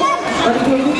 아니, 그리고